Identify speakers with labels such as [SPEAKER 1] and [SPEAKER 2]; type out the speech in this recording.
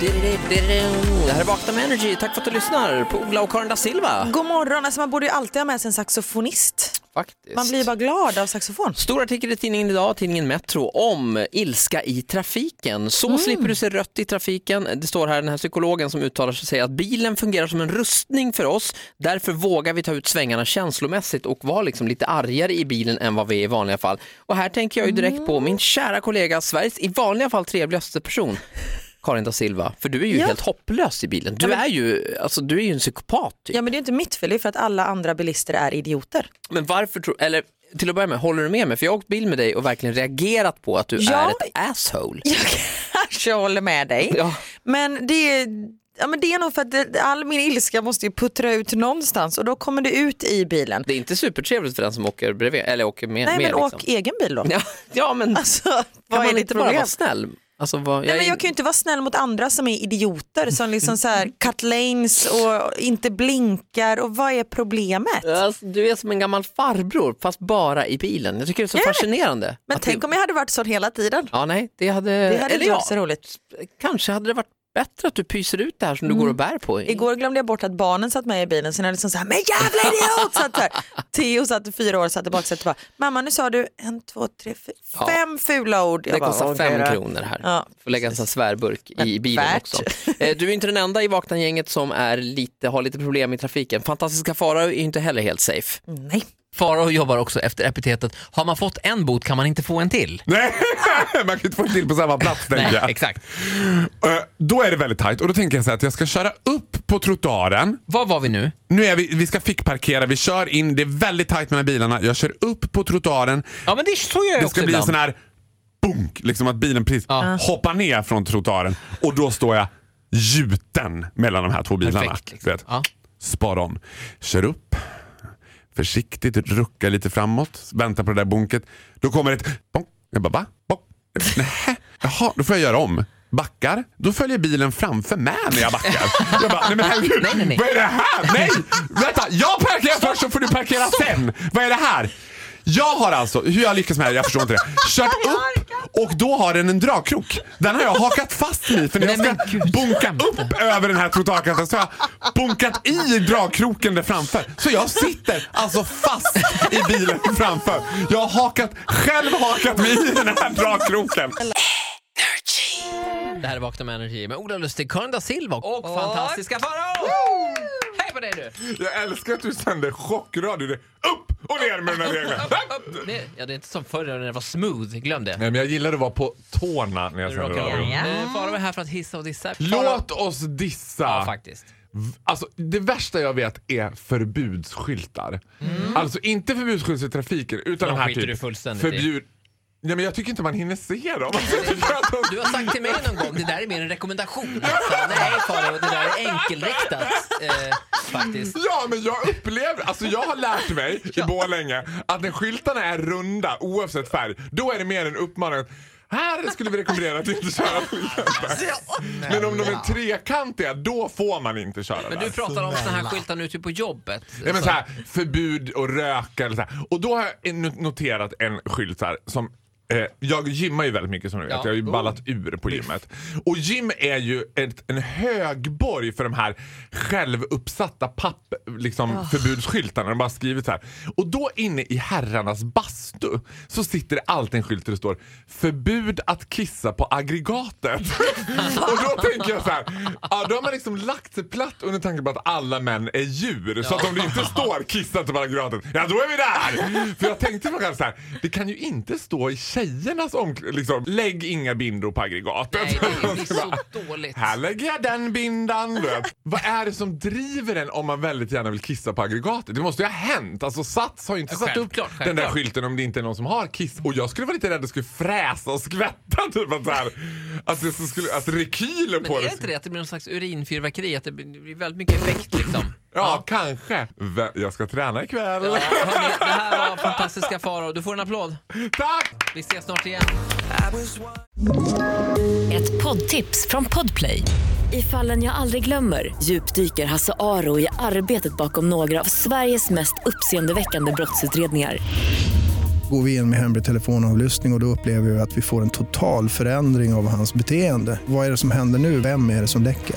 [SPEAKER 1] Det här är Vakna med Energy. Tack för att du lyssnar på Ola och Karin da Silva.
[SPEAKER 2] God morgon, alltså man borde ju alltid ha med sig en saxofonist.
[SPEAKER 1] Faktiskt.
[SPEAKER 2] Man blir bara glad av saxofon.
[SPEAKER 1] Stor artikel i tidningen idag, tidningen Metro, om ilska i trafiken. Så
[SPEAKER 2] Mm.
[SPEAKER 1] slipper du se rött i trafiken. Det står här, den här psykologen som uttalar sig säger att bilen fungerar som en rustning för oss. Därför vågar vi ta ut svängarna känslomässigt och vara liksom lite argare i bilen än vad vi är i vanliga fall. Och här tänker jag ju direkt
[SPEAKER 2] Mm.
[SPEAKER 1] på min kära kollega, Sveriges i vanliga fall trevligaste person. Karin da Silva, för du är ju
[SPEAKER 2] Ja.
[SPEAKER 1] helt hopplös i bilen. Du,
[SPEAKER 2] Ja, men-
[SPEAKER 1] är, ju, alltså, du är ju en psykopat. Typ.
[SPEAKER 2] Ja men det är inte mitt fel, det är för att alla andra bilister är idioter.
[SPEAKER 1] Men varför tror, eller till att börja med, håller du med mig? För jag har åkt bil med dig och verkligen reagerat på att du
[SPEAKER 2] Ja.
[SPEAKER 1] är ett asshole.
[SPEAKER 2] Jag kanske håller med dig.
[SPEAKER 1] Ja.
[SPEAKER 2] Men det är, ja, men det är nog för att det, all min ilska måste ju puttra ut någonstans och då kommer det ut i bilen.
[SPEAKER 1] Det är inte supertrevligt för den som åker bredvid, eller åker med.
[SPEAKER 2] Nej
[SPEAKER 1] med
[SPEAKER 2] men
[SPEAKER 1] liksom.
[SPEAKER 2] åk egen bil då.
[SPEAKER 1] ja, ja, men
[SPEAKER 2] Alltså,
[SPEAKER 1] kan
[SPEAKER 2] vad är
[SPEAKER 1] man
[SPEAKER 2] ditt
[SPEAKER 1] inte bara
[SPEAKER 2] problem?
[SPEAKER 1] vara snäll? Alltså, vad,
[SPEAKER 2] Nej,
[SPEAKER 1] är-
[SPEAKER 2] men jag kan ju inte vara snäll mot andra som är idioter som liksom så här cut lanes och inte blinkar och vad är problemet?
[SPEAKER 1] Alltså, du är som en gammal farbror, fast bara i bilen. Jag tycker det är så
[SPEAKER 2] Jag vet.
[SPEAKER 1] fascinerande.
[SPEAKER 2] Men
[SPEAKER 1] att
[SPEAKER 2] tänk
[SPEAKER 1] det,
[SPEAKER 2] om jag hade varit sån hela tiden.
[SPEAKER 1] Ja, nej, det hade...
[SPEAKER 2] Det hade
[SPEAKER 1] eller
[SPEAKER 2] inte
[SPEAKER 1] ja,
[SPEAKER 2] varit så roligt.
[SPEAKER 1] kanske hade det varit bättre att du pyser ut det här som du går och bär på. i-
[SPEAKER 2] Mm. Igår glömde jag bort att barnen satt med i bilen så när jag liksom så här, men jävla idiot! Satt så här. Theo satt i fyra år och satt i baksätet och bara, mamma nu sa du en, två, tre, fyra,
[SPEAKER 1] Ja.
[SPEAKER 2] fem fula ord. Jag
[SPEAKER 1] Det
[SPEAKER 2] bara,
[SPEAKER 1] kostar
[SPEAKER 2] "Okej
[SPEAKER 1] fem
[SPEAKER 2] då."
[SPEAKER 1] kronor här.
[SPEAKER 2] Ja,
[SPEAKER 1] Får lägga en sån här svärburk i
[SPEAKER 2] Men
[SPEAKER 1] bilen
[SPEAKER 2] värt.
[SPEAKER 1] också. Eh, Du är inte den enda i Vakna-gänget som är lite, har lite problem i trafiken. Fantastiska Farao är ju inte heller helt safe.
[SPEAKER 2] Nej.
[SPEAKER 3] Farao jobbar också efter epitetet har man fått en bot kan man inte få en till.
[SPEAKER 4] Nej, man kan inte få det till på samma plats tänker jag.
[SPEAKER 3] exakt.
[SPEAKER 4] Eh, Då är det väldigt tajt och då tänker jag så här att jag ska köra upp på trottoaren.
[SPEAKER 3] Var var vi nu?
[SPEAKER 4] Nu är vi, vi ska fickparkera, vi kör in, det är väldigt tajt mellan bilarna. Jag kör upp på trottoaren.
[SPEAKER 3] Ja men det är så gör jag
[SPEAKER 4] Det
[SPEAKER 3] också
[SPEAKER 4] ska bli en
[SPEAKER 3] ibland.
[SPEAKER 4] sån här bunk, liksom att bilen precis hoppar ner från trottoaren och då står jag gjuten mellan de här två bilarna.
[SPEAKER 3] Perfekt, liksom.
[SPEAKER 4] Du vet.
[SPEAKER 3] Ja.
[SPEAKER 4] Spar om. Kör upp. Försiktigt ruckar lite framåt. Väntar på det där bunket. Då kommer ett bonk. Jag bara va? Bonk. Nähä. Jaha, då får jag göra om. Backar. Då följer bilen framför mig när jag backar. Jag bara, nej men herregud.
[SPEAKER 3] Nej, nej, nej.
[SPEAKER 4] Vad är det här? Nej! Vänta, jag parkerar först så får du parkera sen. Vad är det här? Jag har alltså, hur jag lyckas med det här, jag förstår inte det. Kört upp och då har den en dragkrok. Den har jag hakat fast i för när jag
[SPEAKER 3] Nej,
[SPEAKER 4] ska
[SPEAKER 3] men gud,
[SPEAKER 4] bunka
[SPEAKER 3] skämtar du?
[SPEAKER 4] upp över den här trottoarkanten så har jag bunkat i dragkroken där framför. Så jag sitter alltså fast i bilen framför. Jag har hakat, själv hakat mig i den här dragkroken.
[SPEAKER 3] Det här är Vakna med Energy med Ola Lustig, Karin da Silva och, fantastiska Farao! Hej på dig du!
[SPEAKER 4] Jag älskar att du sänder chockradio. Det är upp och ner med den här regeln.
[SPEAKER 3] Nej, Ja, det är inte som förr när det var smooth, glöm det.
[SPEAKER 4] Nej, men jag gillar att vara på tårna när jag sänder radio.
[SPEAKER 3] Eh, Farao är här för att hissa och dissa. Farao-
[SPEAKER 4] Låt oss dissa.
[SPEAKER 3] Ja, faktiskt.
[SPEAKER 4] Alltså det värsta jag vet är förbudsskyltar. Alltså inte förbudsskyltar i trafiken utan
[SPEAKER 3] Mm. De
[SPEAKER 4] de, här
[SPEAKER 3] skiter
[SPEAKER 4] typ
[SPEAKER 3] du fullständigt i.
[SPEAKER 4] förbjud... Nej men jag tycker inte man hinner se dem. Alltså, jag tycker att de-
[SPEAKER 3] Du har sagt till mig någon gång, det där är mer en rekommendation. Alltså, nej Farao, det där är enkelriktat. Eh, faktiskt.
[SPEAKER 4] Ja men jag upplever, alltså jag har lärt mig i Borlänge att när skyltarna är runda oavsett färg, då är det mer en uppmaning att här skulle vi rekommendera att inte köra skyltar.
[SPEAKER 3] Alltså,
[SPEAKER 4] Men om de är trekantiga, då får man inte köra
[SPEAKER 3] Men
[SPEAKER 4] där.
[SPEAKER 3] du pratar om såna här skyltar nu typ på jobbet.
[SPEAKER 4] Nej, men
[SPEAKER 3] Så-
[SPEAKER 4] så här, förbud och röka eller så här. Och då har jag en- noterat en skylt så här som eh, jag gymmar ju väldigt mycket som du vet.
[SPEAKER 3] Ja.
[SPEAKER 4] Jag har ju ballat ur på gymmet. Och gym är ju ett, en högborg för de här självuppsatta papp, liksom, förbudsskyltarna. De bara skrivit så här. Och då inne i herrarnas bastu så sitter det alltid en skylt där det står förbud att kissa på aggregatet. och då tänker jag så här. Ja, då har man liksom lagt sig platt under tanken på att alla män är djur. Så att om det inte står kissa på aggregatet, ja då är vi där! För jag tänkte på så här. det kan ju inte stå i tjejernas omklädning, liksom, lägg inga bindor på aggregatet.
[SPEAKER 3] Nej, det är ju så dåligt.
[SPEAKER 4] Här lägger jag den bindan. du vet. Vad är det som driver en om man väldigt gärna vill kissa på aggregatet? Det måste ju ha hänt. Alltså Sats har ju inte satt upp
[SPEAKER 3] Självklart,
[SPEAKER 4] den där
[SPEAKER 3] självklart.
[SPEAKER 4] skylten om det inte är någon som har kiss. Och jag skulle vara lite rädd att det skulle fräsa och skvätta. Typ att, så här, att, det så skulle, att rekylen
[SPEAKER 3] Men
[SPEAKER 4] på
[SPEAKER 3] är
[SPEAKER 4] det...
[SPEAKER 3] det inte det att det blir någon slags urinfyrverkeri? Att det blir väldigt mycket effekt liksom?
[SPEAKER 4] Ja, kanske. Vä- Jag ska träna ikväll.
[SPEAKER 3] Ja, hörni, det här var fantastiska Farao. Du får en applåd.
[SPEAKER 4] Tack!
[SPEAKER 3] Vi ses snart igen.
[SPEAKER 5] Ett poddtips från Podplay. I fallen jag aldrig glömmer djupdyker Hasse Aro i arbetet bakom några av Sveriges mest uppseendeväckande brottsutredningar.
[SPEAKER 6] Går vi in med hemlig telefonavlyssning och, och då upplever vi att vi får en total förändring av hans beteende. Vad är det som händer nu? Vem är det som läcker?